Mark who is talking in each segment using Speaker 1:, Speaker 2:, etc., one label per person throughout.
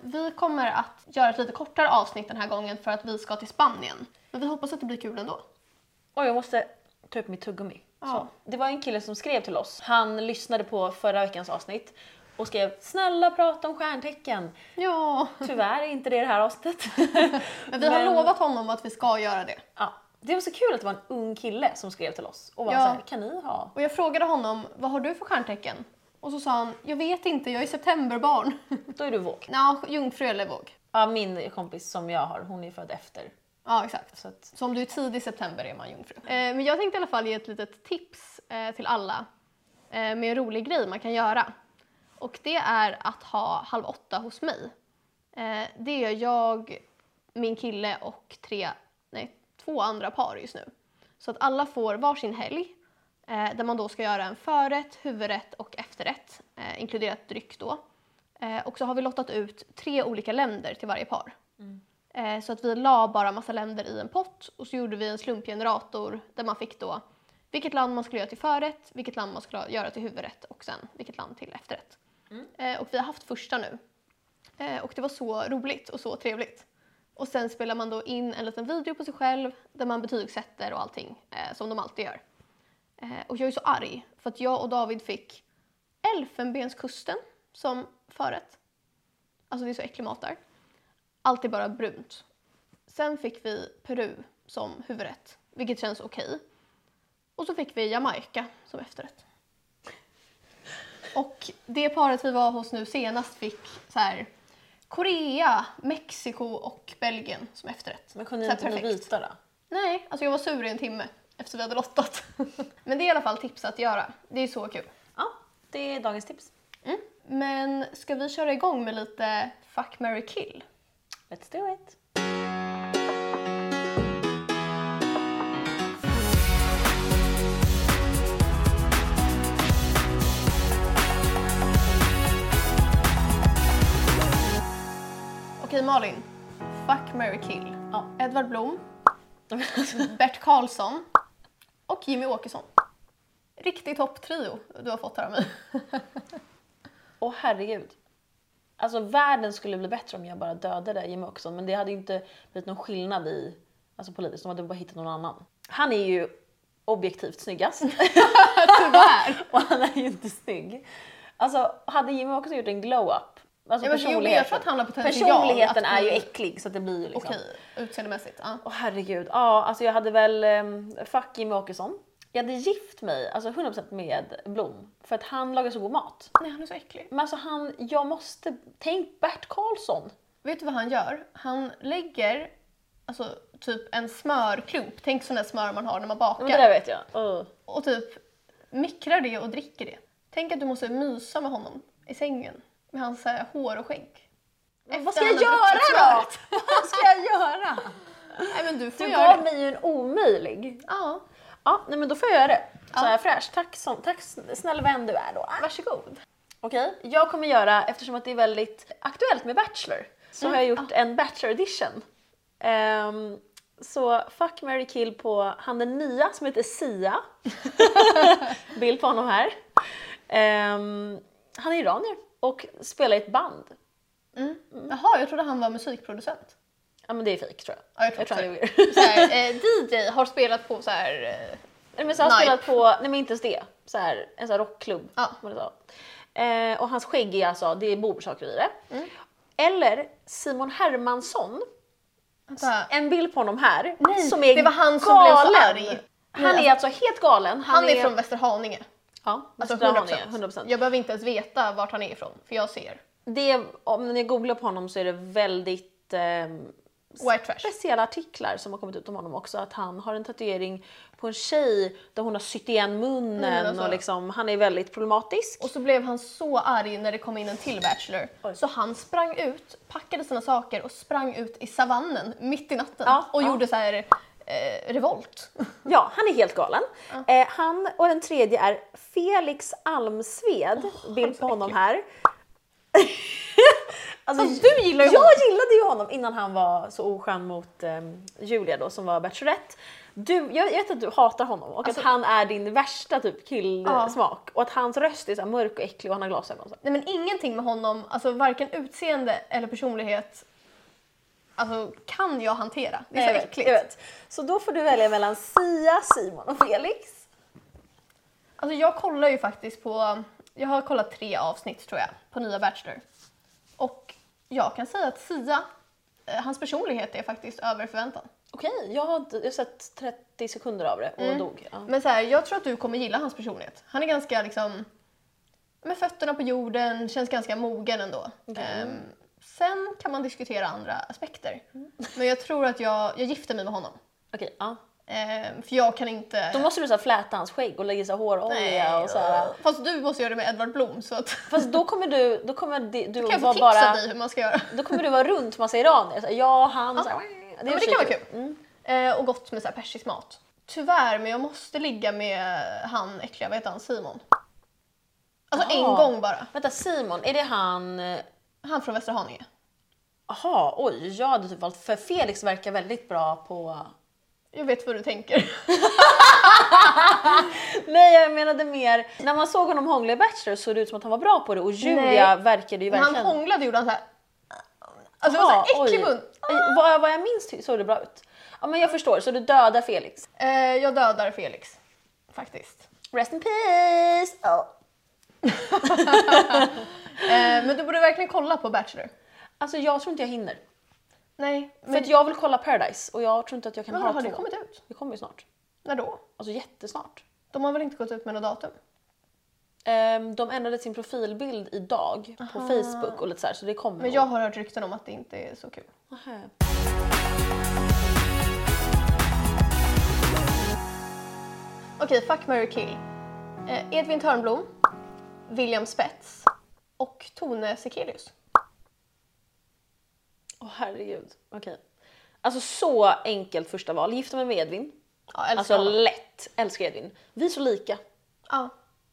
Speaker 1: vi kommer att göra ett lite kortare avsnitt den här gången för att vi ska till Spanien. Men vi hoppas att det blir kul ändå.
Speaker 2: Oj, jag måste ta upp mitt tuggummi.
Speaker 1: Ja.
Speaker 2: Så. Det var en kille som skrev till oss. Han lyssnade på förra veckans avsnitt och skrev “Snälla prata om stjärntecken”.
Speaker 1: Ja,
Speaker 2: Tyvärr är inte det det här avsnittet.
Speaker 1: men vi har
Speaker 2: Men-
Speaker 1: lovat honom att vi ska göra det.
Speaker 2: ja. Det var så kul att det var en ung kille som skrev till oss och var
Speaker 1: Ja.
Speaker 2: såhär “Kan ni ha?”
Speaker 1: Och jag frågade honom, vad har du för stjärntecken? Och så sa han, jag vet inte, jag är septemberbarn.
Speaker 2: Då är du våg.
Speaker 1: Nja, jungfru eller våg.
Speaker 2: Ja, min kompis som jag har, hon är född efter.
Speaker 1: Ja, exakt.
Speaker 2: Så att,
Speaker 1: Så om du är tidig september är man jungfru. Eh, men jag tänkte i alla fall ge ett litet tips eh, till alla eh, med en rolig grej man kan göra. Och det är att ha Halv åtta hos mig. Eh, det är jag, min kille och tre, nej, två andra par just nu. Så att alla får varsin helg eh, där man då ska göra en förrätt, huvudrätt och efterrätt, eh, inkluderat dryck då. Eh, och så har vi lottat ut tre olika länder till varje par. Eh, Så att vi la bara massa länder i en pott och så gjorde vi en slumpgenerator där man fick då vilket land man skulle göra till förrätt, vilket land man skulle göra till huvudrätt och sen vilket land till efterrätt. Eh, Och vi har haft första nu. Eh, Och det var så roligt och så trevligt. Och sen spelar man då in en liten video på sig själv där man betygsätter och allting eh, som de alltid gör. Eh, Och jag är så arg för att jag och David fick Elfenbenskusten som förrätt. Alltså det är så äcklig mat där. Allt är bara brunt. Sen fick vi Peru som huvudrätt, vilket känns okej. Och så fick vi Jamaica som efterrätt. Och det paret vi var hos nu senast fick så här Korea, Mexiko och Belgien som efterrätt.
Speaker 2: men kunde
Speaker 1: Så
Speaker 2: ni
Speaker 1: här
Speaker 2: inte bli
Speaker 1: perfekt.
Speaker 2: vita då?
Speaker 1: Nej, alltså jag var sur i en timme efter vi hade lottat. Men det är i alla fall tips att göra. Det är så kul. Mm.
Speaker 2: Ja, det är dagens tips.
Speaker 1: Men ska vi köra igång med lite fuck, marry, kill?
Speaker 2: Let's do it!
Speaker 1: Okej Malin, fuck, marry, kill.
Speaker 2: Ja.
Speaker 1: Edvard Blom, Bert Karlsson och Jimmy Åkesson. Riktig topptrio du har fått här av mig.
Speaker 2: Åh herregud. Alltså världen skulle bli bättre om jag bara dödade Jimmy Åkesson men det hade ju inte blivit någon skillnad i alltså politiskt, de hade bara hittat någon annan. Han är ju objektivt snyggast
Speaker 1: Tyvärr.
Speaker 2: och han är ju inte snygg. Alltså hade Jimmy Åkesson gjort en glow-up, alltså
Speaker 1: Ja, men jo, men jag tror att han har potential
Speaker 2: personligheten
Speaker 1: att
Speaker 2: är ju
Speaker 1: bli-
Speaker 2: äcklig så att det blir ju liksom...
Speaker 1: Okej, utseendemässigt. Ja.
Speaker 2: Åh herregud. Ja, alltså jag hade väl um, fuck Jimmy Åkesson. Jag hade gift mig, alltså 100% med Blom, för att han lagar så god mat.
Speaker 1: Nej, han är så äcklig.
Speaker 2: Men alltså han, jag måste, tänk Bert Karlsson.
Speaker 1: Vet du vad han gör? Han lägger alltså, typ en smörklump, tänk sån där smör man har när man bakar,
Speaker 2: Men det där vet jag. Ugh.
Speaker 1: och typ mikrar det och dricker det. Tänk att du måste mysa med honom i sängen, med hans eh, hår och skänk. Efter
Speaker 2: Vad ska jag
Speaker 1: han har druckit
Speaker 2: göra då?
Speaker 1: smöret.
Speaker 2: Vad ska jag göra?
Speaker 1: Nej men du får
Speaker 2: Du
Speaker 1: göra
Speaker 2: gav
Speaker 1: det.
Speaker 2: mig ju en omöjlig.
Speaker 1: Ja,
Speaker 2: Ja, nej men då får jag göra det. Så
Speaker 1: Ja.
Speaker 2: här fräscht. Tack, som, tack snäll vän du är då.
Speaker 1: varsågod.
Speaker 2: Okej, jag kommer göra, eftersom att det är väldigt aktuellt med Bachelor, så har jag gjort en Bachelor edition. Ehm, så fuck, marry, kill på han den nya som heter Sia. Bild på honom här. Ehm, han är iranier och spelar i ett band.
Speaker 1: Mm. Jaha, jag trodde han var musikproducent.
Speaker 2: Ja men det är fejk tror jag.
Speaker 1: Ja, jag tror
Speaker 2: han
Speaker 1: också
Speaker 2: ljuger.
Speaker 1: Så här, eh, DJ har spelat på så här... Eh,
Speaker 2: Nej men så han har
Speaker 1: Nej.
Speaker 2: spelat på, nej men inte ens det, så här, en sån här rockklubb.
Speaker 1: Ja.
Speaker 2: vad det sa. Eh, och hans skägg är alltså, det bor saker i det.
Speaker 1: Mm.
Speaker 2: Eller Simon Hermansson,
Speaker 1: vänta.
Speaker 2: en bild på honom här.
Speaker 1: Nej, det var han som blev så arg.
Speaker 2: Han är alltså helt galen.
Speaker 1: Han är från Västerhaninge.
Speaker 2: ja,
Speaker 1: Alltså 100%.
Speaker 2: 100%.
Speaker 1: Jag behöver inte ens veta vart han är ifrån, för jag ser.
Speaker 2: Det, om ni googlar på honom så är det väldigt ehm,
Speaker 1: White trash.
Speaker 2: speciella artiklar som har kommit ut om honom också. Att han har en tatuering på en tjej där hon har sytt igen munnen
Speaker 1: Mm, alltså.
Speaker 2: och liksom, han är väldigt problematisk.
Speaker 1: Och så blev han så arg när det kom in en till Bachelor.
Speaker 2: Oj.
Speaker 1: Så han sprang ut, packade sina saker och sprang ut i savannen mitt i natten.
Speaker 2: Ja,
Speaker 1: och
Speaker 2: ja.
Speaker 1: gjorde så här eh, revolt.
Speaker 2: Ja, han är helt galen. Eh, han och den tredje är Felix Almsved. Bild på honom här. alltså,
Speaker 1: Fast du gillar ju
Speaker 2: jag
Speaker 1: honom.
Speaker 2: ehm, gillade ju honom innan han var så oskön mot eh, Julia då som var Bachelorette. Du, jag vet att du hatar honom och
Speaker 1: Alltså-
Speaker 2: att han är din värsta typ
Speaker 1: Ja.
Speaker 2: killsmak och att hans röst är så här mörk och äcklig och han har glasögon. Så. här.
Speaker 1: Nej men ingenting med honom, alltså varken utseende eller personlighet alltså, kan jag hantera. Det är
Speaker 2: Nej,
Speaker 1: så
Speaker 2: jag vet,
Speaker 1: äckligt.
Speaker 2: jag vet. Så då får du välja mellan Sia, Simon och Felix.
Speaker 1: Alltså jag kollar ju faktiskt på, jag har kollat tre avsnitt tror jag, på nya Bachelor. Och jag kan säga att Sia, eh, hans personlighet är faktiskt över förväntan.
Speaker 2: Okej, jag har, inte- jag har sett 30 sekunder av det och dog. Ja.
Speaker 1: Men så här, jag tror att du kommer gilla hans personlighet. Han är ganska liksom med fötterna på jorden, känns ganska mogen ändå.
Speaker 2: Okej.
Speaker 1: Ehm, sen kan man diskutera andra aspekter.
Speaker 2: Mm.
Speaker 1: Men jag tror att jag, jag gifter mig med honom.
Speaker 2: Okej, ja.
Speaker 1: Ehm, för jag kan inte...
Speaker 2: Då måste du så här fläta hans skägg och lägga så här hårolja och så här.
Speaker 1: Fast du måste göra det med Edvard Blom så att...
Speaker 2: Fast då kommer du, då kommer di- du
Speaker 1: Kan jag få
Speaker 2: vara
Speaker 1: tips
Speaker 2: bara...
Speaker 1: av dig hur man ska göra?
Speaker 2: Då kommer du vara runt massa iranier. Så här, ja, han... Så här, det, är Mm.
Speaker 1: men
Speaker 2: i och
Speaker 1: det
Speaker 2: för sig
Speaker 1: kan vara kul. Eh, och gott med så här persisk mat. Tyvärr, men jag måste ligga med han äckliga, vad heter han, Simon? Alltså en
Speaker 2: Ah.
Speaker 1: gång bara.
Speaker 2: Vänta, Simon, är det han...
Speaker 1: Han från Västerhaninge.
Speaker 2: Jaha, oj, jag hade typ valt... För Felix verkar väldigt bra på...
Speaker 1: Jag vet vad du tänker.
Speaker 2: Nej, jag menade mer... När man såg honom hångla i Bachelor såg det ut som att han var bra på det och Julia
Speaker 1: Nej.
Speaker 2: verkade ju
Speaker 1: När han
Speaker 2: verkligen...
Speaker 1: hånglade gjorde han så här. Alltså det var så här äcklig mun. Ah.
Speaker 2: Vad, vad jag minns ty- såg det bra ut. Ja, men jag förstår. Så du dödar Felix.
Speaker 1: Eh, jag dödar Felix. Faktiskt.
Speaker 2: Rest in peace! Ja.
Speaker 1: Eh, men du borde verkligen kolla på Bachelor.
Speaker 2: Alltså jag tror inte jag hinner.
Speaker 1: Nej,
Speaker 2: För
Speaker 1: men
Speaker 2: att jag vill kolla Paradise och jag tror inte att jag kan
Speaker 1: men,
Speaker 2: ha
Speaker 1: har
Speaker 2: två.
Speaker 1: det kommit ut?
Speaker 2: Det kommer ju snart.
Speaker 1: När då?
Speaker 2: Alltså jättesnart.
Speaker 1: De har väl inte gått ut med något datum?
Speaker 2: Ehm, de ändrade sin profilbild idag på Facebook och lite så här, så det kommer.
Speaker 1: Men jag har hört rykten om att det inte är så kul.
Speaker 2: Nähä.
Speaker 1: Okej, fuck, marry, kill. Eh, Edvin Törnblom, William Spets och Tone Sekelius.
Speaker 2: Åh herregud. Okej. Alltså så enkelt första val. Gifta mig med Edvin.
Speaker 1: Ja, älskar
Speaker 2: Alltså
Speaker 1: honom.
Speaker 2: lätt. Älskar Edvin. Vi är så lika.
Speaker 1: Ja.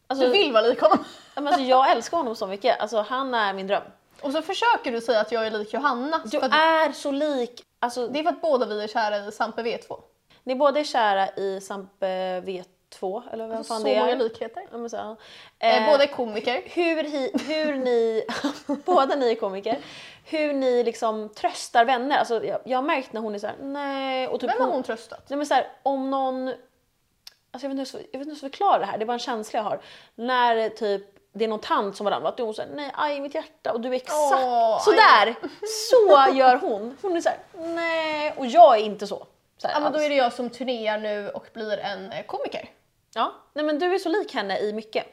Speaker 2: Alltså,
Speaker 1: Du vill vara lik honom.
Speaker 2: Ja, men alltså, jag älskar honom så mycket. Alltså han är min dröm.
Speaker 1: Och så försöker du säga att jag är lik Johanna.
Speaker 2: Du
Speaker 1: för att,
Speaker 2: är så lik. Alltså
Speaker 1: det är för att båda vi är kära i Sampe V2.
Speaker 2: ni båda är kära i Sampe V2 eller vem
Speaker 1: Alltså,
Speaker 2: fan
Speaker 1: så
Speaker 2: det är.
Speaker 1: många likheter.
Speaker 2: Ja, men så, ja.
Speaker 1: Eh,
Speaker 2: Eh,
Speaker 1: båda är komiker.
Speaker 2: hur, hi, hur ni, båda ni är komiker, hur ni liksom tröstar vänner. Alltså, jag, jag har märkt när hon är såhär, nej. Och typ
Speaker 1: Vem har hon tröstat?
Speaker 2: Nej men såhär, om någon, alltså jag vet inte hur jag ska- jag vet inte hur jag ska förklara det här, det är bara en känsla jag har. När typ det är någon tant som har ramlat, då är hon såhär, nej aj mitt hjärta. Och du är exakt
Speaker 1: Åh,
Speaker 2: sådär. Så gör hon. Hon är såhär, nej. Och jag är inte så. så här
Speaker 1: Ja, men då
Speaker 2: alls.
Speaker 1: är det jag som turnerar nu och blir en eh, komiker.
Speaker 2: ja. Nej men du är så lik henne i mycket.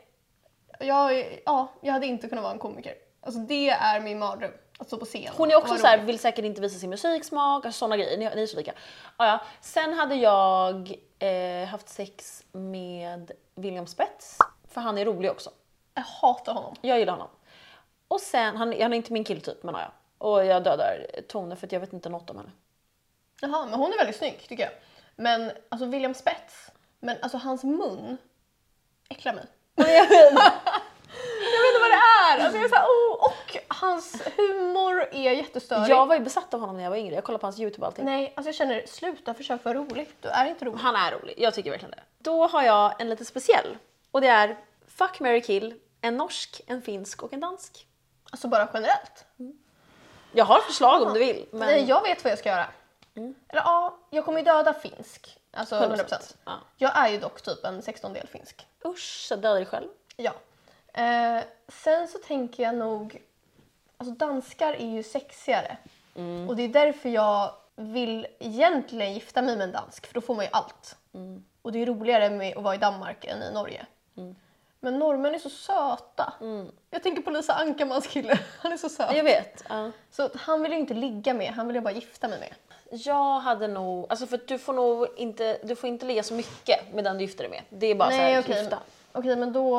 Speaker 1: Jag, är- ja, jag hade inte kunnat vara en komiker. Alltså det är min mardröm. Att stå på scen.
Speaker 2: Hon är
Speaker 1: och
Speaker 2: också
Speaker 1: vara
Speaker 2: så här,
Speaker 1: rolig.
Speaker 2: vill säkert inte visa sin musiksmak, alltså sådana grejer. Ni, ni är så lika. Ja, ja. Sen hade jag eh, haft sex med William Spets, för han är rolig också.
Speaker 1: Jag hatar honom.
Speaker 2: Jag gillar honom. Och sen, han, han är inte min killtyp men ja. Och jag dödar Tone för att jag vet inte något om henne.
Speaker 1: Jaha, men hon är väldigt snygg tycker jag. Men alltså William Spets, men alltså hans mun äcklar mig. Jag vet inte vad det är! Alltså jag är så här, oh, och hans humor är jättestörig.
Speaker 2: jag var ju besatt av honom när jag var yngre, jag kollade på hans youtube och allting.
Speaker 1: Nej, alltså jag känner sluta försök vara rolig. Du är inte rolig.
Speaker 2: Han är rolig, jag tycker verkligen det. Då har jag en lite speciell. Och det är Fuck, Mary kill, en norsk, en finsk och en dansk.
Speaker 1: Alltså bara generellt.
Speaker 2: Jag har förslag om du vill. Men...
Speaker 1: Nej, jag vet vad jag ska göra. Eller ja, jag kommer ju döda finsk. Alltså 100%.
Speaker 2: 100%. Ja.
Speaker 1: Jag är ju dock typ en 16-del finsk.
Speaker 2: Usch, så döda dig själv.
Speaker 1: Ja. Eh, sen så tänker jag nog... Alltså danskar är ju sexigare. Och det är därför jag vill egentligen gifta mig med en dansk, för då får man ju allt. Och det är roligare med att vara i Danmark än i Norge. Men norrmän är så söta. Jag tänker på Lisa Ankarmans kille, han är så söt.
Speaker 2: Jag vet. Ja.
Speaker 1: Så att han vill jag inte ligga med, han vill jag bara gifta mig med.
Speaker 2: Jag hade nog, alltså för att du får nog inte, du får inte ligga så mycket med den du gifter dig med. Det är bara så här,
Speaker 1: okej.
Speaker 2: klyfta.
Speaker 1: Okej, men då...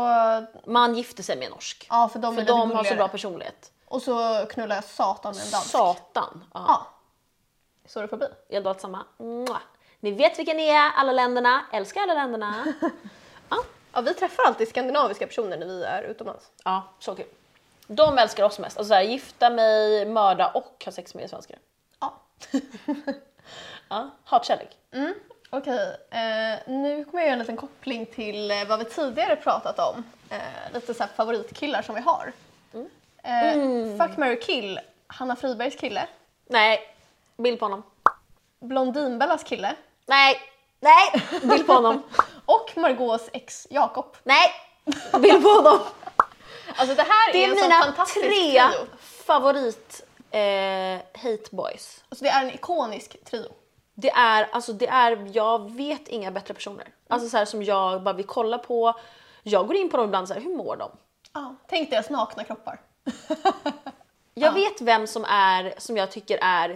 Speaker 2: Man gifter sig med en norsk.
Speaker 1: Ja, för de
Speaker 2: För
Speaker 1: är lite
Speaker 2: de har så
Speaker 1: gulligare.
Speaker 2: bra personlighet.
Speaker 1: Och så knullar jag satan med en dansk.
Speaker 2: Satan. Ja.
Speaker 1: Ja. Så det får bli.
Speaker 2: Jag drar åt samma. Mwah. Ni vet vilka ni är, alla länderna. Älskar alla länderna. ja.
Speaker 1: Ja, vi träffar alltid skandinaviska personer när vi är utomlands.
Speaker 2: ja, så kul. De älskar oss mest. Alltså så här, gifta mig, mörda och ha sex med svenskar.
Speaker 1: Ja.
Speaker 2: Ja. Hatkärlek.
Speaker 1: Mm. Okej, eh, nu kommer jag göra en liten koppling till eh, vad vi tidigare pratat om. Eh, lite så här favoritkillar som vi har. Eh, Fuck, marry, kill. Hanna Fribergs kille.
Speaker 2: Nej, bild på honom.
Speaker 1: Blondinbellas kille.
Speaker 2: Nej, nej, bild på honom.
Speaker 1: Och Margaux ex Jakob.
Speaker 2: Nej, bild på honom.
Speaker 1: Alltså det här
Speaker 2: Det
Speaker 1: är,
Speaker 2: är
Speaker 1: en sån
Speaker 2: mina
Speaker 1: fantastisk
Speaker 2: tre
Speaker 1: trio.
Speaker 2: favorit eh, hate boys.
Speaker 1: Alltså det är en ikonisk trio.
Speaker 2: Det är, alltså det är, jag vet inga bättre personer. Alltså så här som jag bara vill kolla på. Jag går in på dem ibland så här, hur mår de?
Speaker 1: Ja, Tänk deras nakna kroppar.
Speaker 2: Jag vet vem som är, som jag tycker är...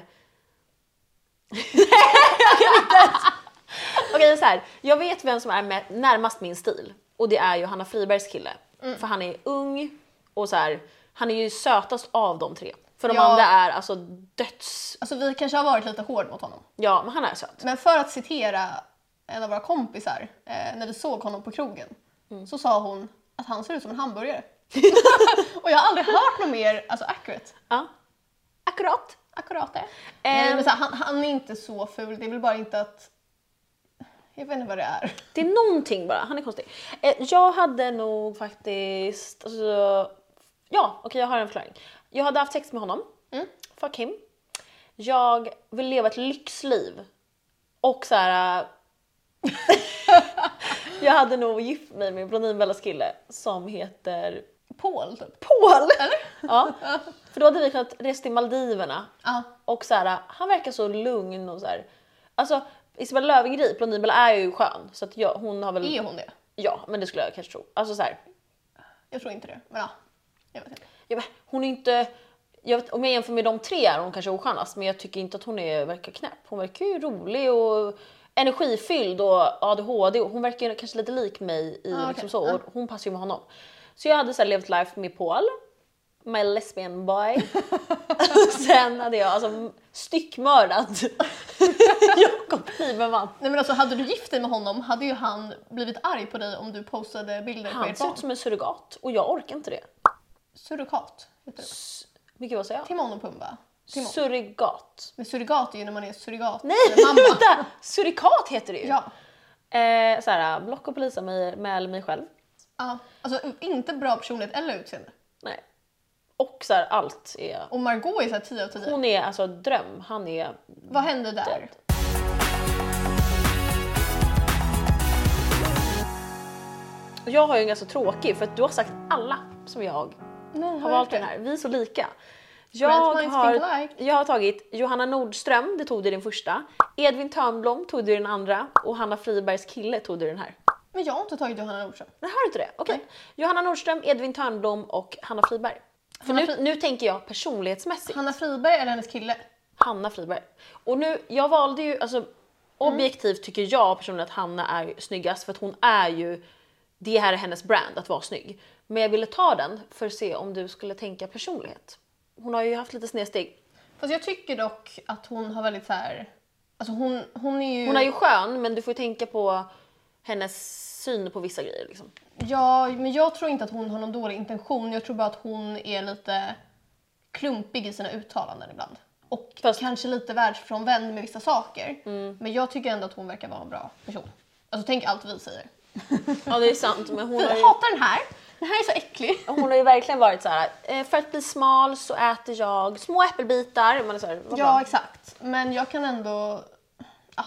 Speaker 2: jag kan inte ens- Okej, så här. Jag vet vem som är med, närmast min stil och det är ju Hanna Fribergs kille. För han är ung och så här, han är ju sötast av de tre. För de
Speaker 1: Ja.
Speaker 2: andra är alltså döds...
Speaker 1: Alltså vi kanske har varit lite hård mot honom.
Speaker 2: Ja, men han är söt.
Speaker 1: Men för att citera en av våra kompisar eh, när vi såg honom på krogen
Speaker 2: Mm.
Speaker 1: så sa hon att han ser ut som en hamburgare. och jag har aldrig hört något mer alltså accurate.
Speaker 2: Ja. Akkurat.
Speaker 1: Akkurat det.
Speaker 2: Ehm.
Speaker 1: Nej, men så här, han, han är inte så ful, det är väl bara inte att... Jag vet inte vad det är.
Speaker 2: Det är någonting bara, han är konstig. Eh, jag hade nog faktiskt... Alltså, ja, okej jag har en förklaring. Jag hade haft sex med honom. Fuck him. Jag vill leva ett lyxliv. Och så här. eh, jag hade nog gift mig med Blondinbellas kille som heter
Speaker 1: Paul typ.
Speaker 2: Paul. Ja, för då hade vi kunnat resa till Maldiverna
Speaker 1: Ja.
Speaker 2: och så här, han verkar så lugn och så här. Alltså Isabella Löwengrip, Blondinbella är ju skön så att jag, hon har väl...
Speaker 1: Är hon det?
Speaker 2: Ja, men det skulle jag kanske tro. Alltså så här,
Speaker 1: Jag tror inte det. Men ja, jag vet inte.
Speaker 2: jag vet, hon är inte... Jag vet, om jag jämför med de tre är hon kanske oskönast, men jag tycker inte att hon är, verkar knäpp. Hon verkar ju rolig och energifylld och ADHD. och Hon verkar ju kanske lite lik mig i
Speaker 1: okej.
Speaker 2: liksom så,
Speaker 1: Ja.
Speaker 2: och hon passar ju med honom. Så jag hade så här, levt life med Paul, my lesbian boy. och sen hade jag alltså styckmördat Jakob Liberman.
Speaker 1: Nej men alltså hade du gift dig med honom hade ju han blivit arg på dig om du postade bilder på
Speaker 2: Han
Speaker 1: ert
Speaker 2: ser
Speaker 1: barn.
Speaker 2: ut som en surrogat och jag orkar inte det.
Speaker 1: Surrogat heter det.
Speaker 2: Men gud vad säger jag?
Speaker 1: Timon och Pumba. Timon.
Speaker 2: Surrogat.
Speaker 1: Men surrogat är ju när man är surrogat.
Speaker 2: Nej
Speaker 1: eller mamma.
Speaker 2: vänta! Surikat heter det ju.
Speaker 1: Ja.
Speaker 2: Eh, såhär, block och polisa mig, med mig själv.
Speaker 1: ja. Alltså inte bra personlighet eller utseende.
Speaker 2: Nej. Och såhär, allt är...
Speaker 1: Och Margot är såhär 10 av 10.
Speaker 2: Hon är alltså dröm, han är...
Speaker 1: Vad hände där?
Speaker 2: Jag har ju en ganska tråkig för att du har sagt alla som jag
Speaker 1: Nej,
Speaker 2: har valt den här. Vi är så lika.
Speaker 1: Great
Speaker 2: Jag
Speaker 1: minds think
Speaker 2: har,
Speaker 1: alike.
Speaker 2: jag har tagit Johanna Nordström, det tog du i din första. Edvin Törnblom tog du i den andra och Hanna Fribergs kille tog du i den här.
Speaker 1: Men jag har inte tagit Johanna Nordström.
Speaker 2: Nej, har du inte det? Okej. Johanna Nordström, Edvin Törnblom och Hanna Friberg. För
Speaker 1: Hanna
Speaker 2: nu,
Speaker 1: Fri-
Speaker 2: nu tänker jag personlighetsmässigt.
Speaker 1: Hanna Friberg eller hennes kille?
Speaker 2: Hanna Friberg. Och nu, jag valde ju, alltså objektivt tycker jag personligen att Hanna är ju snyggast för att hon är ju, det här är hennes brand att vara snygg. Men jag ville ta den för att se om du skulle tänka personlighet. Hon har ju haft lite snedsteg.
Speaker 1: Fast jag tycker dock att hon har väldigt så här. Alltså hon, hon är ju...
Speaker 2: Hon är ju skön men du får ju tänka på hennes syn på vissa grejer liksom.
Speaker 1: Ja, men jag tror inte att hon har någon dålig intention. Jag tror bara att hon är lite klumpig i sina uttalanden ibland. Och
Speaker 2: Fast- Mm.
Speaker 1: kanske lite världsfrånvänd med vissa saker. Men jag tycker ändå att hon verkar vara en bra person. Alltså tänk allt vi säger.
Speaker 2: Ja det är sant men hon
Speaker 1: Vi
Speaker 2: har ju...
Speaker 1: hatar den här. Den här är så äcklig.
Speaker 2: Hon har ju verkligen varit så här. eh, för att bli smal så äter jag små äppelbitar. Man är så här, vad
Speaker 1: Ja,
Speaker 2: bra.
Speaker 1: exakt. Men jag kan ändå... Ja.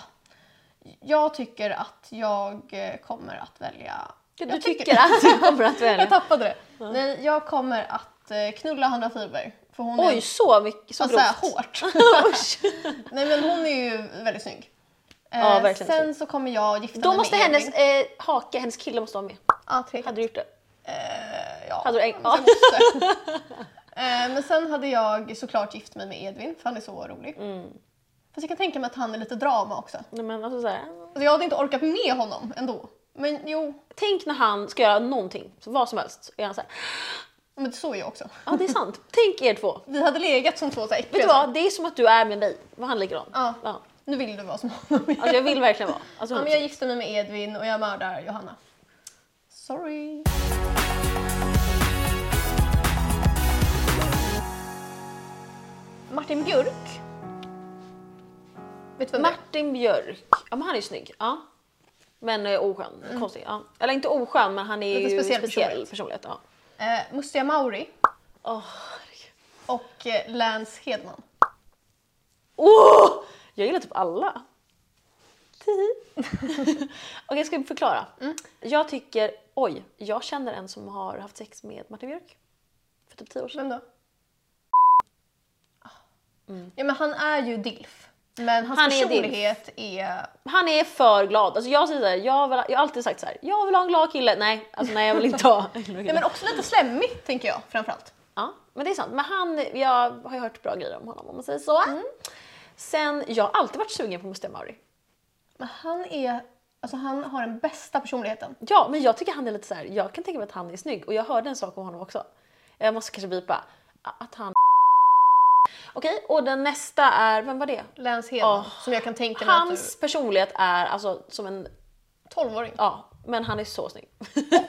Speaker 1: Jag tycker att jag eh, kommer att välja...
Speaker 2: Du
Speaker 1: jag
Speaker 2: tycker att du kommer att
Speaker 1: Jag
Speaker 2: välja.
Speaker 1: tappade det. Nej, jag kommer att eh, knulla Hanna Friberg. För hon är
Speaker 2: Oj, så mycket, så
Speaker 1: alltså, så här,
Speaker 2: grovt.
Speaker 1: hårt.
Speaker 2: Usch.
Speaker 1: Nej men hon är ju väldigt snygg. Eh,
Speaker 2: Ja, verkligen
Speaker 1: sen så kommer jag gifta
Speaker 2: Då
Speaker 1: mig
Speaker 2: måste
Speaker 1: med
Speaker 2: hennes
Speaker 1: Edvin.
Speaker 2: eh, hake, hennes kille måste vara med.
Speaker 1: Ja, tre.
Speaker 2: Hade du gjort det?
Speaker 1: Eh, ja.
Speaker 2: Hade du en-
Speaker 1: Jag måste. eh, men sen hade jag såklart gift mig med Edvin för han är så rolig.
Speaker 2: Mm.
Speaker 1: Fast jag kan tänka mig att han är lite drama också.
Speaker 2: Nej, men alltså, så här.
Speaker 1: Alltså, jag hade inte orkat med honom ändå. Men jo,
Speaker 2: Tänk när han ska göra någonting, så vad som helst. Är han så här,
Speaker 1: men så är jag också.
Speaker 2: ja det är sant. Tänk er två.
Speaker 1: Vi hade legat som två så här
Speaker 2: Vet
Speaker 1: äckliga
Speaker 2: du vad, det är som att du är med mig. Var han likadan?
Speaker 1: Ja. Nu vill du vara som honom igen.
Speaker 2: Alltså jag vill verkligen vara. Alltså,
Speaker 1: ja, men jag gifter mig med Edvin och jag mördar Johanna. Sorry. Martin Björk Vet du vem det är?
Speaker 2: Martin Björk. Ja, men han är ju snygg. Ja. Men eh, oskön. Konstig. Ja. Eller inte oskön, men han är
Speaker 1: Mm. Lite
Speaker 2: ju
Speaker 1: speciell
Speaker 2: speciell
Speaker 1: personlighet.
Speaker 2: personlighet. ja.
Speaker 1: Eh, Mustiga Mauri
Speaker 2: Åh,
Speaker 1: och eh, Lance Hedman.
Speaker 2: Åh! Jag gillar typ alla. Tihi. Okej, jag ska förklara.
Speaker 1: Mm.
Speaker 2: Jag tycker, oj, jag känner en som har haft sex med Martin Björk. För typ tio år sedan.
Speaker 1: Vem då? Ah. Ja, men han är ju DILF. Men hans
Speaker 2: Mm. Han är
Speaker 1: personlighet är,
Speaker 2: Han är för glad. Alltså jag säger så här, jag, vill, jag har alltid sagt så här, jag vill ha en glad kille. Nej, alltså nej jag vill inte ha en glad
Speaker 1: Nej,
Speaker 2: kille.
Speaker 1: men också lite slemmig tänker jag framförallt.
Speaker 2: Ja, men det är sant. Men han, jag har ju hört bra grejer om honom om man säger så.
Speaker 1: Mm.
Speaker 2: Sen, jag har alltid varit sugen på Mustiga Mauri.
Speaker 1: Men han är, alltså han har den bästa personligheten.
Speaker 2: Ja, men jag tycker han är lite så här. jag kan tänka mig att han är snygg och jag hörde en sak om honom också. Jag måste kanske bipa. Att han... Okej, och den nästa är, vem var det?
Speaker 1: Lance Hedman
Speaker 2: Åh.
Speaker 1: som jag kan tänka mig att
Speaker 2: Hans personlighet är alltså som en,
Speaker 1: du... 12-åring.
Speaker 2: ja, men han är så snygg.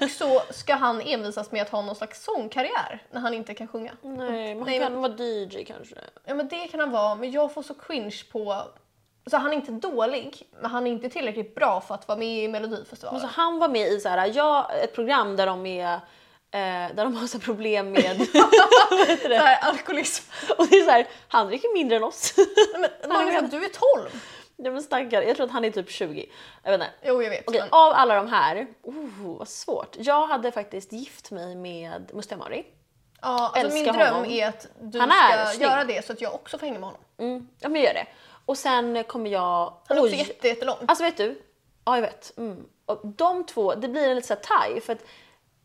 Speaker 1: Och så ska han envisas med att ha någon slags sångkarriär när han inte kan sjunga.
Speaker 2: Nej, men han
Speaker 1: Nej,
Speaker 2: kan vara DJ kanske.
Speaker 1: Ja men det kan han vara, men jag får så cringe på... Så han är inte dålig, men han är inte tillräckligt bra för att vara med i Melodifestivalen.
Speaker 2: Så Alltså, han var med i så här, ja, ett program där de är eh, där de har så här problem med...
Speaker 1: det här alkoholism.
Speaker 2: och det är så här, han dricker mindre än oss.
Speaker 1: Nej, men, Magnus, du är 12!
Speaker 2: Nej men stackare, jag tror att han är typ 20. Jag vet inte.
Speaker 1: Jo, jag vet.
Speaker 2: Okej,
Speaker 1: men-
Speaker 2: av alla de här, oh, vad svårt. Jag hade faktiskt gift mig med Mustiga Mari.
Speaker 1: Ja, alltså min
Speaker 2: älskar
Speaker 1: dröm
Speaker 2: honom.
Speaker 1: är att du
Speaker 2: Han är
Speaker 1: ska
Speaker 2: snygg.
Speaker 1: göra det så att jag också får hänga med honom.
Speaker 2: Mm, ja men gör det. Och sen kommer jag...
Speaker 1: Han är också
Speaker 2: Oj.
Speaker 1: jätte, jättelång.
Speaker 2: Alltså vet du? Ja jag vet. Mm. Och de två, det blir en lite såhär taj för att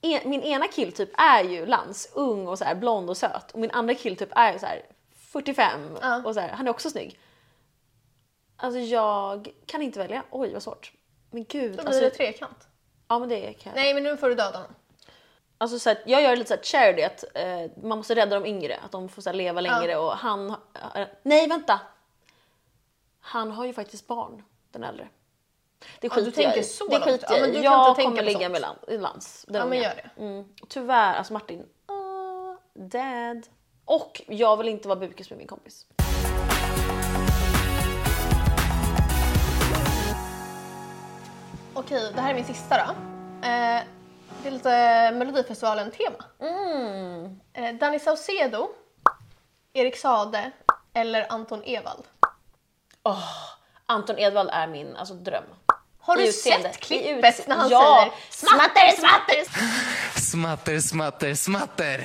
Speaker 2: en, min ena kill typ är ju Lans, ung och så här blond och söt och min andra kill typ är så här 45
Speaker 1: Ja.
Speaker 2: och så här, han är också snygg. Alltså jag kan inte välja. Oj vad svårt. Men gud.
Speaker 1: Då blir
Speaker 2: Alltså,
Speaker 1: det trekant.
Speaker 2: ja men det kan jag.
Speaker 1: Nej men nu får du döda honom.
Speaker 2: Alltså så här, jag gör lite så här charity, att eh, man måste rädda de yngre, att de får så här leva längre och han... eh, nej vänta! Han har ju faktiskt barn, den äldre. Det
Speaker 1: Ja, du
Speaker 2: skiter jag
Speaker 1: tänker
Speaker 2: i.
Speaker 1: så
Speaker 2: det
Speaker 1: långt.
Speaker 2: skiter
Speaker 1: Ja,
Speaker 2: jag
Speaker 1: men
Speaker 2: i.
Speaker 1: du kan
Speaker 2: Jag
Speaker 1: inte tänka
Speaker 2: kommer
Speaker 1: på
Speaker 2: ligga
Speaker 1: sånt.
Speaker 2: med Lan- Lans, den
Speaker 1: Ja, men
Speaker 2: unga.
Speaker 1: gör det.
Speaker 2: Mm. Tyvärr, alltså Martin... ah, dad. Och jag vill inte vara bukis med min kompis.
Speaker 1: Okej, det här är min sista då. Eh, det är lite Melodifestivalen-tema.
Speaker 2: Mm.
Speaker 1: Eh, Danny Saucedo, Erik Sade eller Anton Ewald.
Speaker 2: Anton Edvald är min alltså, dröm.
Speaker 1: Har du
Speaker 2: I utseende.
Speaker 1: sett
Speaker 2: I
Speaker 1: klippet
Speaker 2: utse-
Speaker 1: när han
Speaker 2: ja.
Speaker 1: säger smatter, smatter,
Speaker 3: Smatter, smatter, smatter.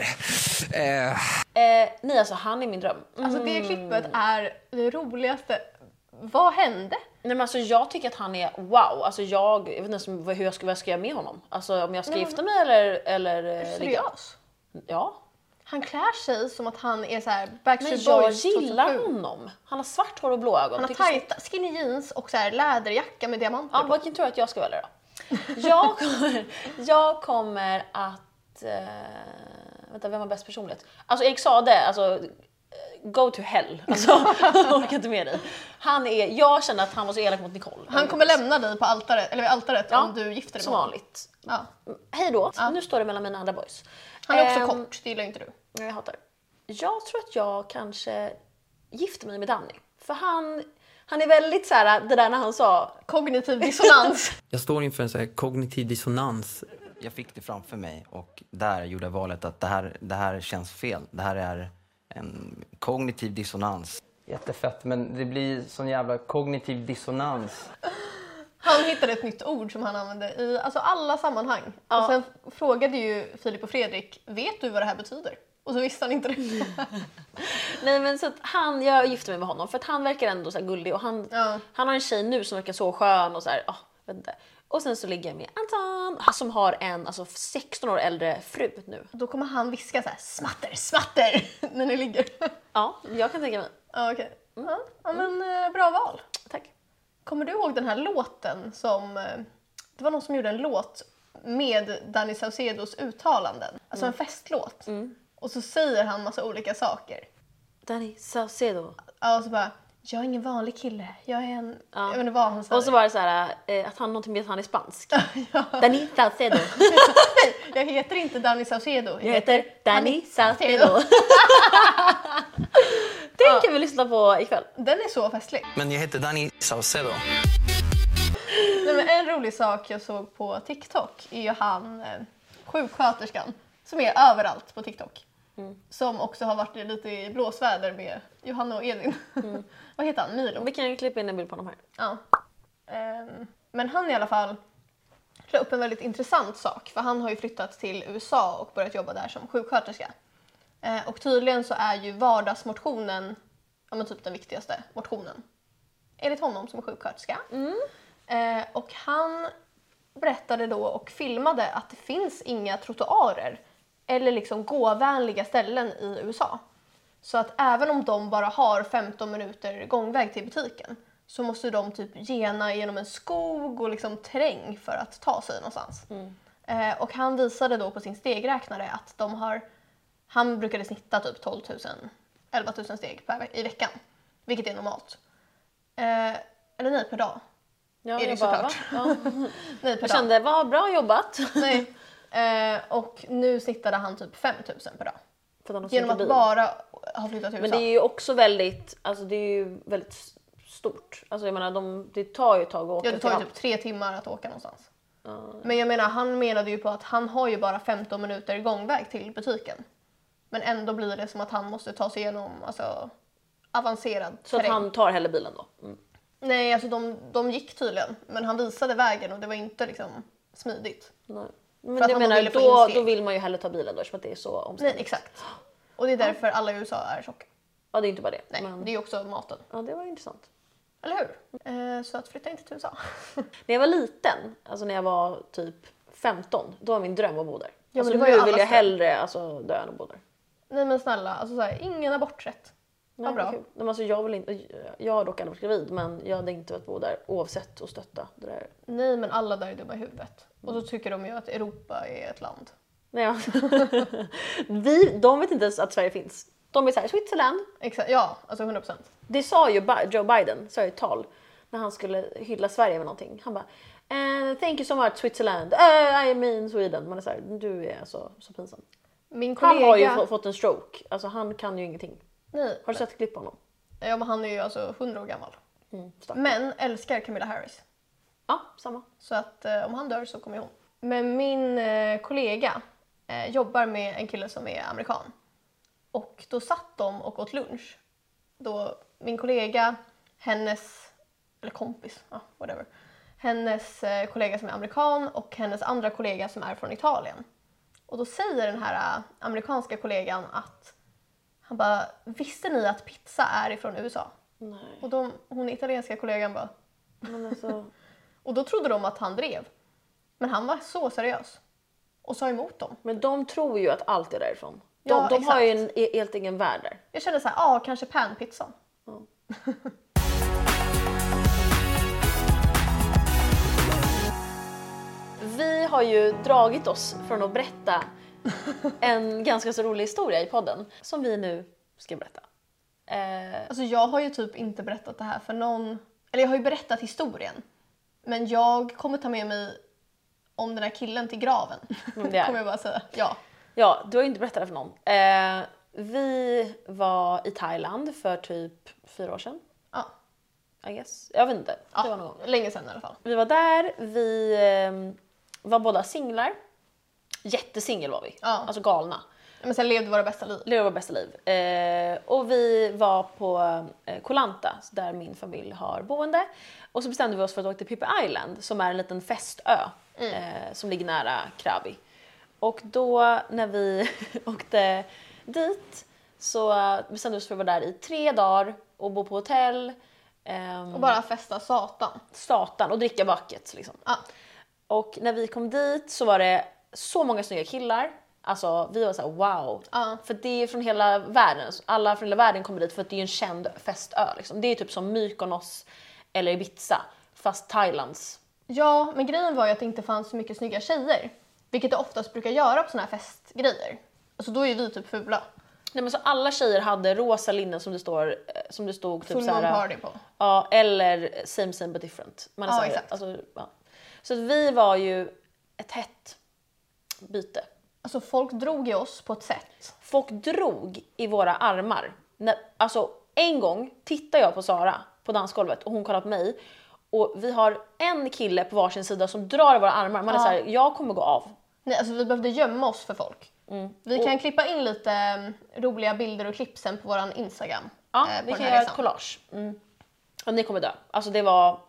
Speaker 3: Eh,
Speaker 2: Eh, nej alltså han är min dröm. Mm.
Speaker 1: Alltså det klippet är det roligaste. Vad hände?
Speaker 2: Nej men alltså jag tycker att han är wow. Alltså jag, jag vet inte ens vad- hur jag ska, vad jag ska göra med honom. Alltså om jag ska gifta mig eller... eller
Speaker 1: Alltså,
Speaker 2: eh, ligga.
Speaker 1: Seriös.
Speaker 2: Ja.
Speaker 1: Han klär sig som att han är så här
Speaker 2: Men
Speaker 1: Backstreet
Speaker 2: jag
Speaker 1: Boys
Speaker 2: gillar
Speaker 1: 2007.
Speaker 2: honom. Han har svart hår och blå ögon.
Speaker 1: Han har
Speaker 2: Tycker så-
Speaker 1: tajta skinny jeans och så här läderjacka med diamanter
Speaker 2: Ja,
Speaker 1: på.
Speaker 2: vilken tur att jag ska välja då. Jag kommer, jag kommer att... Eh, vänta, vem har bäst personlighet? Alltså Erik Sade, alltså eh, go to hell. Alltså, jag orkar inte med dig. Han är, jag känner att han var så elak mot Nicole.
Speaker 1: Han kommer lämna dig på altaret, eller vid altaret
Speaker 2: Ja,
Speaker 1: om du gifter dig
Speaker 2: Som
Speaker 1: med honom.
Speaker 2: vanligt.
Speaker 1: Ja.
Speaker 2: Hej då. Nu står det mellan mina andra boys.
Speaker 1: Han är också
Speaker 2: Ehm,
Speaker 1: kort, det gillar inte du.
Speaker 2: Ja, Jag hatar det. Jag tror att jag kanske gifter mig med Danny. För han, han är väldigt så här, det där när han sa...
Speaker 1: Kognitiv dissonans.
Speaker 4: Jag står inför en så här kognitiv dissonans.
Speaker 3: jag fick det framför mig och där gjorde jag valet att det här, det här känns fel. Det här är en kognitiv dissonans.
Speaker 4: Jättefett, men det blir sån jävla kognitiv dissonans.
Speaker 1: Han hittade ett nytt ord som han använde i alltså alla sammanhang. Och sen frågade ju Filip och Fredrik, vet du vad det här betyder? Och så visste han inte det.
Speaker 2: Nej men så att han, jag gifter mig med honom för att han verkar ändå så här gullig och han,
Speaker 1: Ja.
Speaker 2: han har en tjej nu som verkar så skön och så här, ah, vet inte. Och sen så ligger jag med Anton han som har en alltså 16 år äldre fru nu.
Speaker 1: Då kommer han viska så här, smatter, smatter, när ni ligger.
Speaker 2: Ja, jag kan tänka mig.
Speaker 1: Ja, okej.
Speaker 2: Mm.
Speaker 1: Ja, ja, men eh, bra val.
Speaker 2: Tack.
Speaker 1: Kommer du ihåg den här låten som... eh, Det var någon som gjorde en låt med Danny Saucedos uttalanden. Alltså
Speaker 2: Mm.
Speaker 1: en festlåt. Och så säger han massa olika saker.
Speaker 2: Danny Saucedo.
Speaker 1: Ja, och så bara... Jag är ingen vanlig kille. Jag är en...
Speaker 2: Ja.
Speaker 1: Jag vet inte vad han sa.
Speaker 2: Och så var det så här, eh, att han någonting med att han är spansk.
Speaker 1: ja.
Speaker 2: Danny Saucedo.
Speaker 1: Jag heter inte Danny Saucedo.
Speaker 2: Jag heter Danny
Speaker 1: Saucedo.
Speaker 2: Saucedo. det Den kan vi lyssna på ikväll.
Speaker 1: Den är så festlig.
Speaker 3: Men jag heter Danny Saucedo.
Speaker 1: Nej, men en rolig sak jag såg på TikTok är ju han eh, sjuksköterskan som är överallt på TikTok. Som också har varit lite i blåsväder med Johanna och Edvin. Vad heter han? Milo?
Speaker 2: Vi kan klippa in en bild på honom här.
Speaker 1: Ja. Ehm, Men han i alla fall la upp en väldigt intressant sak för han har ju flyttat till USA och börjat jobba där som sjuksköterska. Eh, Och tydligen så är ju vardagsmotionen ja, men typ den viktigaste motionen. Enligt honom som är sjuksköterska. Eh, Och han berättade då och filmade att det finns inga trottoarer eller liksom gåvänliga ställen i USA. Så att även om de bara har 15 minuter gångväg till butiken så måste de typ gena genom en skog och liksom terräng för att ta sig någonstans. Eh, och han visade då på sin stegräknare att de har, han brukade snitta typ 12 000, 11 000 steg per, ve- i veckan, vilket är normalt. Eh, eller nej, per dag.
Speaker 2: Ja,
Speaker 1: det
Speaker 2: jag bara,
Speaker 1: såklart.
Speaker 2: va? Ja.
Speaker 1: Nej, per
Speaker 2: Jag
Speaker 1: dag.
Speaker 2: kände, vad bra jobbat!
Speaker 1: Nej. Eh, och nu snittade han typ 5 000 per dag.
Speaker 2: För att de
Speaker 1: Genom
Speaker 2: sitter
Speaker 1: att
Speaker 2: bil.
Speaker 1: bara ha flyttat till USA.
Speaker 2: Men det är ju också väldigt, alltså det är ju väldigt s- stort. Alltså jag menar, de, det tar ju ett tag att åka
Speaker 1: Ja, det tar ju
Speaker 2: till
Speaker 1: typ tre timmar att åka någonstans. Men jag menar, han menade ju på att han har ju bara 15 minuter gångväg till butiken. Men ändå blir det som att han måste ta sig igenom alltså, avancerad
Speaker 2: Så att han tar hellre bilen då. Mm.
Speaker 1: Nej, alltså de, de gick tydligen, men han visade vägen och det var inte liksom smidigt.
Speaker 2: Nej. Men
Speaker 1: För att
Speaker 2: jag
Speaker 1: han
Speaker 2: menar,
Speaker 1: ville få
Speaker 2: då,
Speaker 1: insteg.
Speaker 2: då vill man ju hellre ta bilen då eftersom att det är så
Speaker 1: Nej,
Speaker 2: omständigt.
Speaker 1: exakt. Och det är därför alla i USA är tjocka.
Speaker 2: Ja, det är inte bara det.
Speaker 1: Nej,
Speaker 2: Men,
Speaker 1: det är ju också maten.
Speaker 2: ja, det var intressant.
Speaker 1: Eller hur? Eh, så att flytta inte till USA.
Speaker 2: När jag var liten, alltså när jag var typ 15, då var min dröm att bo där.
Speaker 1: men
Speaker 2: alltså,
Speaker 1: det var
Speaker 2: nu
Speaker 1: ju
Speaker 2: vill
Speaker 1: allas
Speaker 2: jag
Speaker 1: dröm.
Speaker 2: hellre alltså, dö än att bo där.
Speaker 1: Nej men snälla, alltså så här, ingen aborträtt. Vad bra.
Speaker 2: kul. Men alltså, jag, vill inte, jag har dock aldrig varit gravid men jag hade inte velat bo där oavsett och stötta det där.
Speaker 1: Nej men alla där är dumma i huvudet. Och
Speaker 2: Mm.
Speaker 1: så tycker de ju att Europa är ett land.
Speaker 2: Nej, ja. Vi, de vet inte ens att Sverige finns. De är såhär, Switzerland.
Speaker 1: Exakt, ja, alltså 100 procent.
Speaker 2: Det sa ju Bi- Joe Biden, sa ju i ett tal, när han skulle hylla Sverige med någonting. Han bara, eh, thank you so much Switzerland, Eh, I mean Sweden. Man är såhär, du är alltså så pinsam.
Speaker 1: Min kollega...
Speaker 2: Han har ju få- fått en stroke, alltså han kan ju ingenting.
Speaker 1: Nej,
Speaker 2: Har du sett klipp på honom?
Speaker 1: ja, men han är ju alltså 100 år gammal.
Speaker 2: Mm, stark.
Speaker 1: Men älskar Camilla Harris.
Speaker 2: ja, samma.
Speaker 1: Så att eh, om han dör så kommer jag hon. Men min eh, kollega eh, jobbar med en kille som är amerikan. Och då satt de och åt lunch. Då min kollega, hennes, eller kompis, ja whatever. Hennes eh, kollega som är amerikan och hennes andra kollega som är från Italien. Och då säger den här eh, amerikanska kollegan att han bara, visste ni att pizza är ifrån USA?
Speaker 2: Nej,
Speaker 1: Och de, hon italienska kollegan bara,
Speaker 2: men alltså,
Speaker 1: och då trodde de att han drev. Men han var så seriös. Och sa emot dem.
Speaker 2: men de tror ju att allt är därifrån. De,
Speaker 1: Ja,
Speaker 2: de har ju en
Speaker 1: exakt.
Speaker 2: e- helt egen värld där.
Speaker 1: Jag kände så här, ja ah, kanske panpizzan.
Speaker 2: Vi har ju dragit oss från att berätta en ganska så rolig historia i podden som vi nu ska berätta. Eh,
Speaker 1: Alltså jag har ju typ inte berättat det här för någon. Eller jag har ju berättat historien. Men jag kommer ta med mig om den här killen till graven.
Speaker 2: Mm, det är.
Speaker 1: kommer jag bara säga. Ja.
Speaker 2: ja, du har ju inte berättat det för någon. Eh, vi var i Thailand för typ fyra år sedan,
Speaker 1: Ja.
Speaker 2: I guess. Jag vet inte.
Speaker 1: ja.
Speaker 2: Det var någon gång.
Speaker 1: Länge sedan i alla fall.
Speaker 2: Vi var där, vi eh, var båda singlar. Jättesingel var vi,
Speaker 1: Ja.
Speaker 2: alltså galna.
Speaker 1: Men sen levde våra bästa liv.
Speaker 2: Leva vårt bästa liv. Eh, och vi var på eh, Koh Lanta där min familj har boende. Och så bestämde vi oss för att åka till Pippi Island som är en liten festö eh, som ligger nära Krabi. Och då när vi åkte dit så bestämde vi oss för att vara där i tre dagar och bo på hotell. ehm,
Speaker 1: Och bara festa satan.
Speaker 2: satan och dricka buckets liksom.
Speaker 1: Ja.
Speaker 2: Och när vi kom dit så var det så många snygga killar. Alltså vi var såhär wow.
Speaker 1: Ja.
Speaker 2: För det är från hela världen. Alla från hela världen kommer dit för att det är ju en känd festö. Liksom. Det är typ som Mykonos eller Ibiza fast Thailands.
Speaker 1: Ja, men grejen var ju att det inte fanns så mycket snygga tjejer. Vilket det oftast brukar göra på såna här festgrejer. Alltså då är ju vi typ fula.
Speaker 2: Nej, men så alla tjejer hade rosa linnen som det, står, eh, som det stod typ
Speaker 1: Full
Speaker 2: så
Speaker 1: moon
Speaker 2: här,
Speaker 1: party på.
Speaker 2: Ja, eller same same but different. Man är
Speaker 1: Ja,
Speaker 2: så här,
Speaker 1: exakt.
Speaker 2: Alltså, ja. Så att vi var ju ett hett byte.
Speaker 1: Alltså folk drog i oss på ett sätt.
Speaker 2: Folk drog i våra armar. När, alltså En gång tittar jag på Sara på dansgolvet och hon kollar på mig och vi har en kille på varsin sida som drar i våra armar. Man är
Speaker 1: Ja.
Speaker 2: såhär, jag kommer gå av.
Speaker 1: Nej, alltså vi behövde gömma oss för folk.
Speaker 2: Mm.
Speaker 1: Vi kan klippa in lite mm, roliga bilder och klipp sen på vår Instagram.
Speaker 2: Ja,
Speaker 1: eh, på
Speaker 2: vi
Speaker 1: den
Speaker 2: kan
Speaker 1: här
Speaker 2: göra ett
Speaker 1: resan.
Speaker 2: collage. Mm. Och ni kommer dö. Alltså det var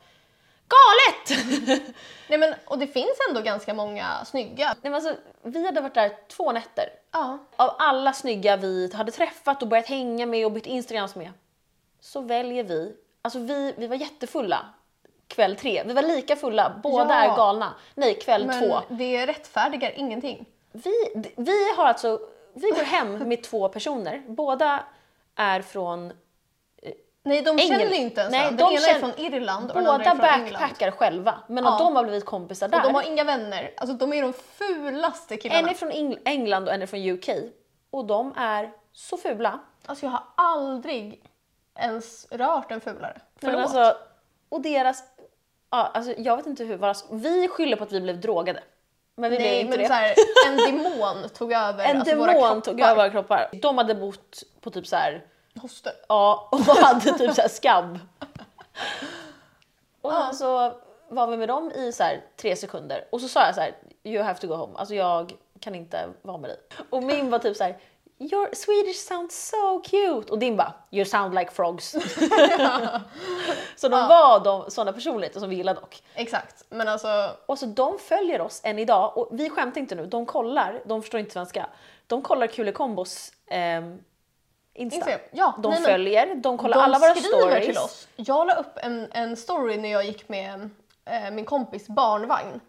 Speaker 2: galet!
Speaker 1: Nej, men, och det finns ändå ganska många snygga.
Speaker 2: Nej, men alltså, vi hade varit där två nätter.
Speaker 1: Ja.
Speaker 2: Av alla snygga vi hade träffat och börjat hänga med och bytt Instagrams med så väljer vi, alltså vi, vi var jättefulla kväll tre. Vi var lika fulla, båda
Speaker 1: Ja.
Speaker 2: är galna. Nej, kväll två.
Speaker 1: Men det rättfärdigar ingenting.
Speaker 2: Vi, vi har alltså, vi går hem med två personer. Båda är från
Speaker 1: Nej, de
Speaker 2: Engel-
Speaker 1: känner ju inte ens
Speaker 2: Nej,
Speaker 1: varandra.
Speaker 2: de
Speaker 1: Den ena är
Speaker 2: känner-
Speaker 1: från Irland och den andra
Speaker 2: Båda
Speaker 1: är från England.
Speaker 2: backpackar själva, men
Speaker 1: Ja.
Speaker 2: av dem har blivit kompisar där.
Speaker 1: Och de har inga vänner. Alltså de är de fulaste killarna.
Speaker 2: En är från Eng- England och en är från UK. Och de är så fula.
Speaker 1: Alltså jag har aldrig ens rört en fulare.
Speaker 2: Men
Speaker 1: Förlåt.
Speaker 2: Alltså, och deras... Ja, alltså, jag vet inte hur... Varas, vi skyller på att vi blev drogade. Men vi blev
Speaker 1: Nej,
Speaker 2: inte
Speaker 1: men
Speaker 2: det.
Speaker 1: så här, en demon tog över
Speaker 2: en
Speaker 1: alltså, våra
Speaker 2: demon tog
Speaker 1: kroppar.
Speaker 2: över våra kroppar. De hade bott på typ så här...
Speaker 1: Hoster.
Speaker 2: Ja, och hade typ så här skabb. Och sen så var vi med dem i så här tre sekunder och så sa jag så här, you have to go home. Alltså jag kan inte vara med dig. Och min var typ så här, your Swedish sounds so cute. Och din bara, you sound like frogs. så de var de, sådana personligheter som vi gillade dock.
Speaker 1: Exakt, men alltså
Speaker 2: Och så de följer oss än idag och vi skämtar inte nu, de kollar, de förstår inte svenska, de kollar Kule Kombos ehm, Insta.
Speaker 1: Instagram, ja,
Speaker 2: de
Speaker 1: nej, men-
Speaker 2: följer, de kollar
Speaker 1: de
Speaker 2: alla våra
Speaker 1: skriver
Speaker 2: stories.
Speaker 1: till oss. Jag la upp en, en story när jag gick med eh, min kompis barnvagn.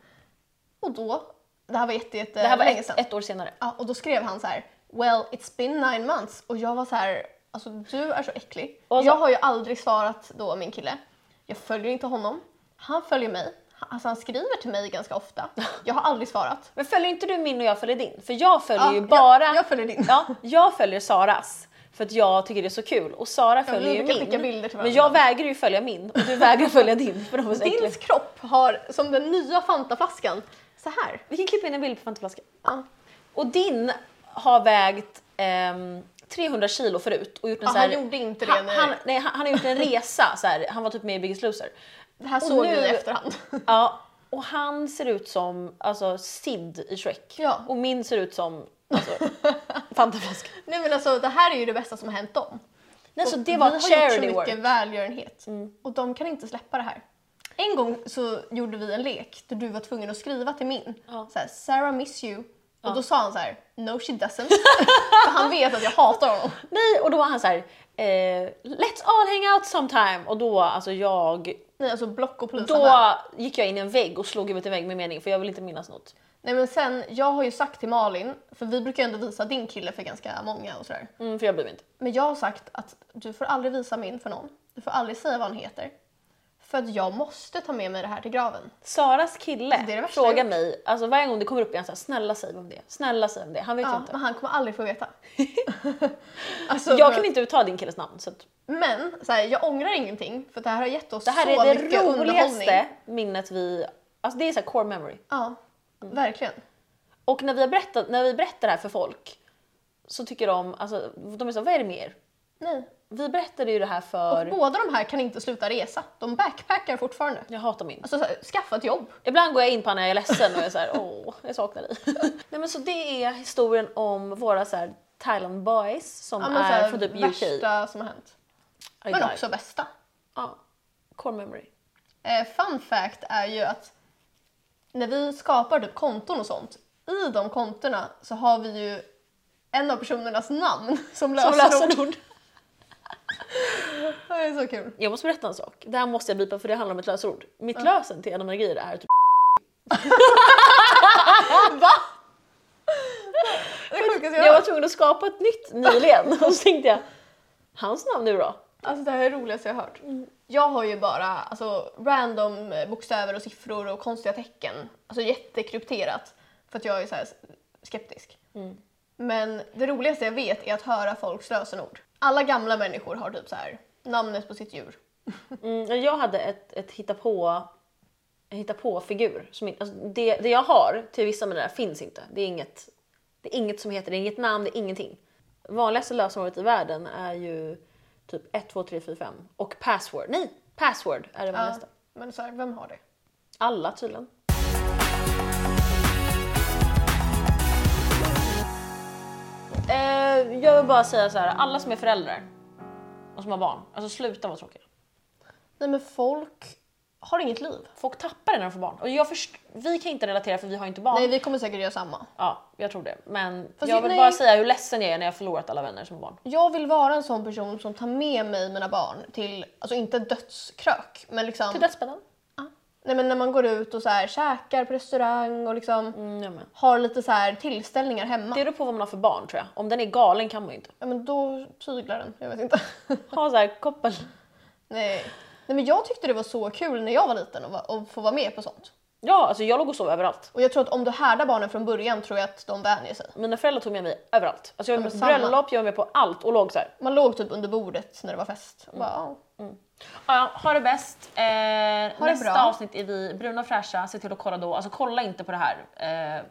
Speaker 1: Och då, det här var jätte, jätte
Speaker 2: Det här var
Speaker 1: länge
Speaker 2: ett,
Speaker 1: sedan.
Speaker 2: ett år senare.
Speaker 1: Ja, och då skrev han så här, well it's been nine months. Och jag var så här, alltså du är så äcklig.
Speaker 2: Och så-
Speaker 1: jag har ju aldrig svarat då min kille. Jag följer inte honom. Han följer mig. Han- Alltså han skriver till mig ganska ofta. Jag har aldrig svarat.
Speaker 2: Men följer inte du min och jag följer din? För jag följer
Speaker 1: Ja,
Speaker 2: ju
Speaker 1: jag-
Speaker 2: bara...
Speaker 1: jag följer din.
Speaker 2: Ja, jag följer Saras. För att jag tycker det är så kul. Och Sara följer ju
Speaker 1: brukar
Speaker 2: min.
Speaker 1: skicka bilder till
Speaker 2: men
Speaker 1: varandra.
Speaker 2: jag vägrar ju följa min och du vägrar följa din för de är så äckliga.
Speaker 1: Dins kropp har, som den nya Fantaflaskan, så här.
Speaker 2: Vi kan klippa in en bild på Fantaflaskan.
Speaker 1: Ja.
Speaker 2: Och din har vägt ehm, 300 kilo förut och gjort en
Speaker 1: Ja,
Speaker 2: så här,
Speaker 1: han gjorde inte det
Speaker 2: han,
Speaker 1: när-
Speaker 2: han, nej, han, han har gjort en resa, så här, han var typ med i Biggest Loser.
Speaker 1: Det här
Speaker 2: Och
Speaker 1: såg
Speaker 2: nu-
Speaker 1: vi i efterhand.
Speaker 2: Ja, och han ser ut som alltså, Sid i Shrek.
Speaker 1: Ja.
Speaker 2: Och min ser ut som alltså, Fantaflaskan.
Speaker 1: Nej men alltså det här är ju det bästa som har hänt dem.
Speaker 2: Nej, så
Speaker 1: Och
Speaker 2: det var
Speaker 1: vi har
Speaker 2: charity
Speaker 1: gjort så
Speaker 2: work. Mm.
Speaker 1: mycket välgörenhet och de kan inte släppa det här. En gång så gjorde vi en lek där du var tvungen att skriva till min.
Speaker 2: Ja.
Speaker 1: Så här, Sarah miss you. Och då sa han så här, no she doesn't. För han vet att jag hatar honom.
Speaker 2: Nej, och då var han så här, eh, let's all hang out sometime. Och då, alltså jag,
Speaker 1: Nej alltså block och plus. affär.
Speaker 2: då gick jag in i en vägg och slog huvudet i en vägg med mening för jag vill inte minnas något.
Speaker 1: Nej men sen, jag har ju sagt till Malin, för vi brukar ju ändå visa din kille för ganska många och sådär.
Speaker 2: Mm, för jag bryr mig inte.
Speaker 1: Men jag har sagt att du får aldrig visa min för någon. Du får aldrig säga vad han heter. För att jag måste ta med mig det här till graven.
Speaker 2: Saras kille
Speaker 1: Det är det värsta jag
Speaker 2: frågar
Speaker 1: gjort.
Speaker 2: mig, alltså varje gång det kommer upp igen såhär, snälla säg vem det är, snälla säg vem det är. Han vet
Speaker 1: Ja,
Speaker 2: inte.
Speaker 1: men han kommer aldrig få veta. Alltså,
Speaker 2: Jag
Speaker 1: för-
Speaker 2: kan inte uttala din killes namn så att
Speaker 1: Men så här, jag ångrar ingenting för det här har gett oss
Speaker 2: det här
Speaker 1: så
Speaker 2: är det
Speaker 1: mycket underhållning.
Speaker 2: roligaste minnet vi, alltså det är såhär core memory.
Speaker 1: Ja, verkligen.
Speaker 2: Och när vi, har berättat, när vi berättar det här för folk så tycker de, alltså de är så vad är det med er?
Speaker 1: Nej.
Speaker 2: Vi berättade ju det här
Speaker 1: Och
Speaker 2: för,
Speaker 1: båda de här kan inte sluta resa. De backpackar fortfarande.
Speaker 2: jag hatar min.
Speaker 1: Alltså så här, skaffa ett jobb.
Speaker 2: Ibland går jag in på när jag är ledsen och jag är såhär, åh, jag saknar dig. Nej men så det är historien om våra så här, Thailand boys som
Speaker 1: Ja, men, så
Speaker 2: är
Speaker 1: här,
Speaker 2: från typ UK.
Speaker 1: värsta som har hänt.
Speaker 2: I
Speaker 1: Men
Speaker 2: died.
Speaker 1: också bästa.
Speaker 2: Ja, core memory.
Speaker 1: Eh, fun fact är ju att när vi skapar typ konton och sånt, i de kontona så har vi ju en av personernas namn som
Speaker 2: Som
Speaker 1: lösenord.
Speaker 2: lösenord.
Speaker 1: Det är så kul.
Speaker 2: Jag måste berätta en sak. Det här måste jag bipa för det handlar om ett lösenord. Mitt lösen till en av mina grejer är typ
Speaker 1: Va? Det är sjukaste jag
Speaker 2: Jag var
Speaker 1: hört.
Speaker 2: tvungen att skapa ett nytt nyligen och så tänkte jag, hans namn nu då?
Speaker 1: Alltså det här är det roligaste jag har hört. Jag har ju bara alltså, random eh, bokstäver och siffror och konstiga tecken. Alltså jättekrypterat. För att jag är så här skeptisk. Men det roligaste jag vet är att höra folks lösenord. Alla gamla människor har typ så här namnet på sitt djur.
Speaker 2: Mm, jag hade ett, ett hitta på en hitta på figur som, in- alltså det, det jag har till vissa med det där finns inte. Det är inget, det är inget som heter, det är inget namn, det är ingenting. Vanligaste lösenordet i världen är ju typ 1, 2, 3, 4, 5 och password. Nej, password är det
Speaker 1: Ja.
Speaker 2: vanligaste.
Speaker 1: Men så här, vem har det?
Speaker 2: Alla tydligen. Eh, jag vill bara säga så här, alla som är föräldrar och som har barn, alltså sluta vara tråkiga.
Speaker 1: Nej men folk har inget liv.
Speaker 2: Folk tappar det när de får barn. Och jag först- vi kan inte relatera för vi har inte barn.
Speaker 1: Nej vi kommer säkert göra samma.
Speaker 2: Ja, jag tror det. Men
Speaker 1: Fast
Speaker 2: jag vill
Speaker 1: nej.
Speaker 2: bara säga hur ledsen jag är när jag har förlorat alla vänner som har barn.
Speaker 1: Jag vill vara en sån person som tar med mig mina barn till, alltså inte dödskrök, men liksom...
Speaker 2: Till dödsbädden.
Speaker 1: Nej men när man går ut och så här käkar på restaurang och liksom
Speaker 2: Mm, jag med.
Speaker 1: har lite så här tillställningar hemma.
Speaker 2: Det beror på vad man har för barn tror jag. Om den är galen kan man ju inte.
Speaker 1: Ja men då tyglar den, jag vet inte.
Speaker 2: Ha så här koppel.
Speaker 1: Nej. Nej men jag tyckte det var så kul när jag var liten att va- att få vara med på sånt.
Speaker 2: Ja, alltså jag låg och sov överallt.
Speaker 1: Och jag tror att om du härdar barnen från början tror jag att de vänjer sig.
Speaker 2: Mina föräldrar tog med mig överallt. Alltså jag var
Speaker 1: Ja,
Speaker 2: med på
Speaker 1: men samma.
Speaker 2: bröllop, jag var med på allt och låg så här.
Speaker 1: Man låg typ under bordet när det var fest. Och Bara, ja.
Speaker 2: Ja, ha det bäst. Eh, nästa
Speaker 1: bra.
Speaker 2: avsnitt är vi bruna och fräscha. Se till att kolla då. Alltså kolla inte på det här. Eh,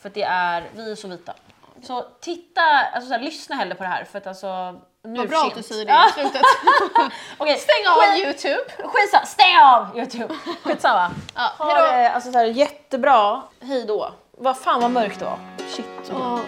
Speaker 2: för att det är, vi är så vita. Så titta, alltså så här, lyssna hellre på det här för att alltså nu
Speaker 1: Vad
Speaker 2: är
Speaker 1: bra
Speaker 2: sent.
Speaker 1: att du säger det
Speaker 2: Ja,
Speaker 1: i slutet.
Speaker 2: okej.
Speaker 1: Stäng av
Speaker 2: Skit-
Speaker 1: Youtube!
Speaker 2: Skitsamma, stäng av Youtube! Skitsamma.
Speaker 1: Ja,
Speaker 2: Ha
Speaker 1: hejdå!
Speaker 2: det alltså så här, jättebra. Hej då. Vad fan vad mörkt det var. Shit.
Speaker 1: Ja.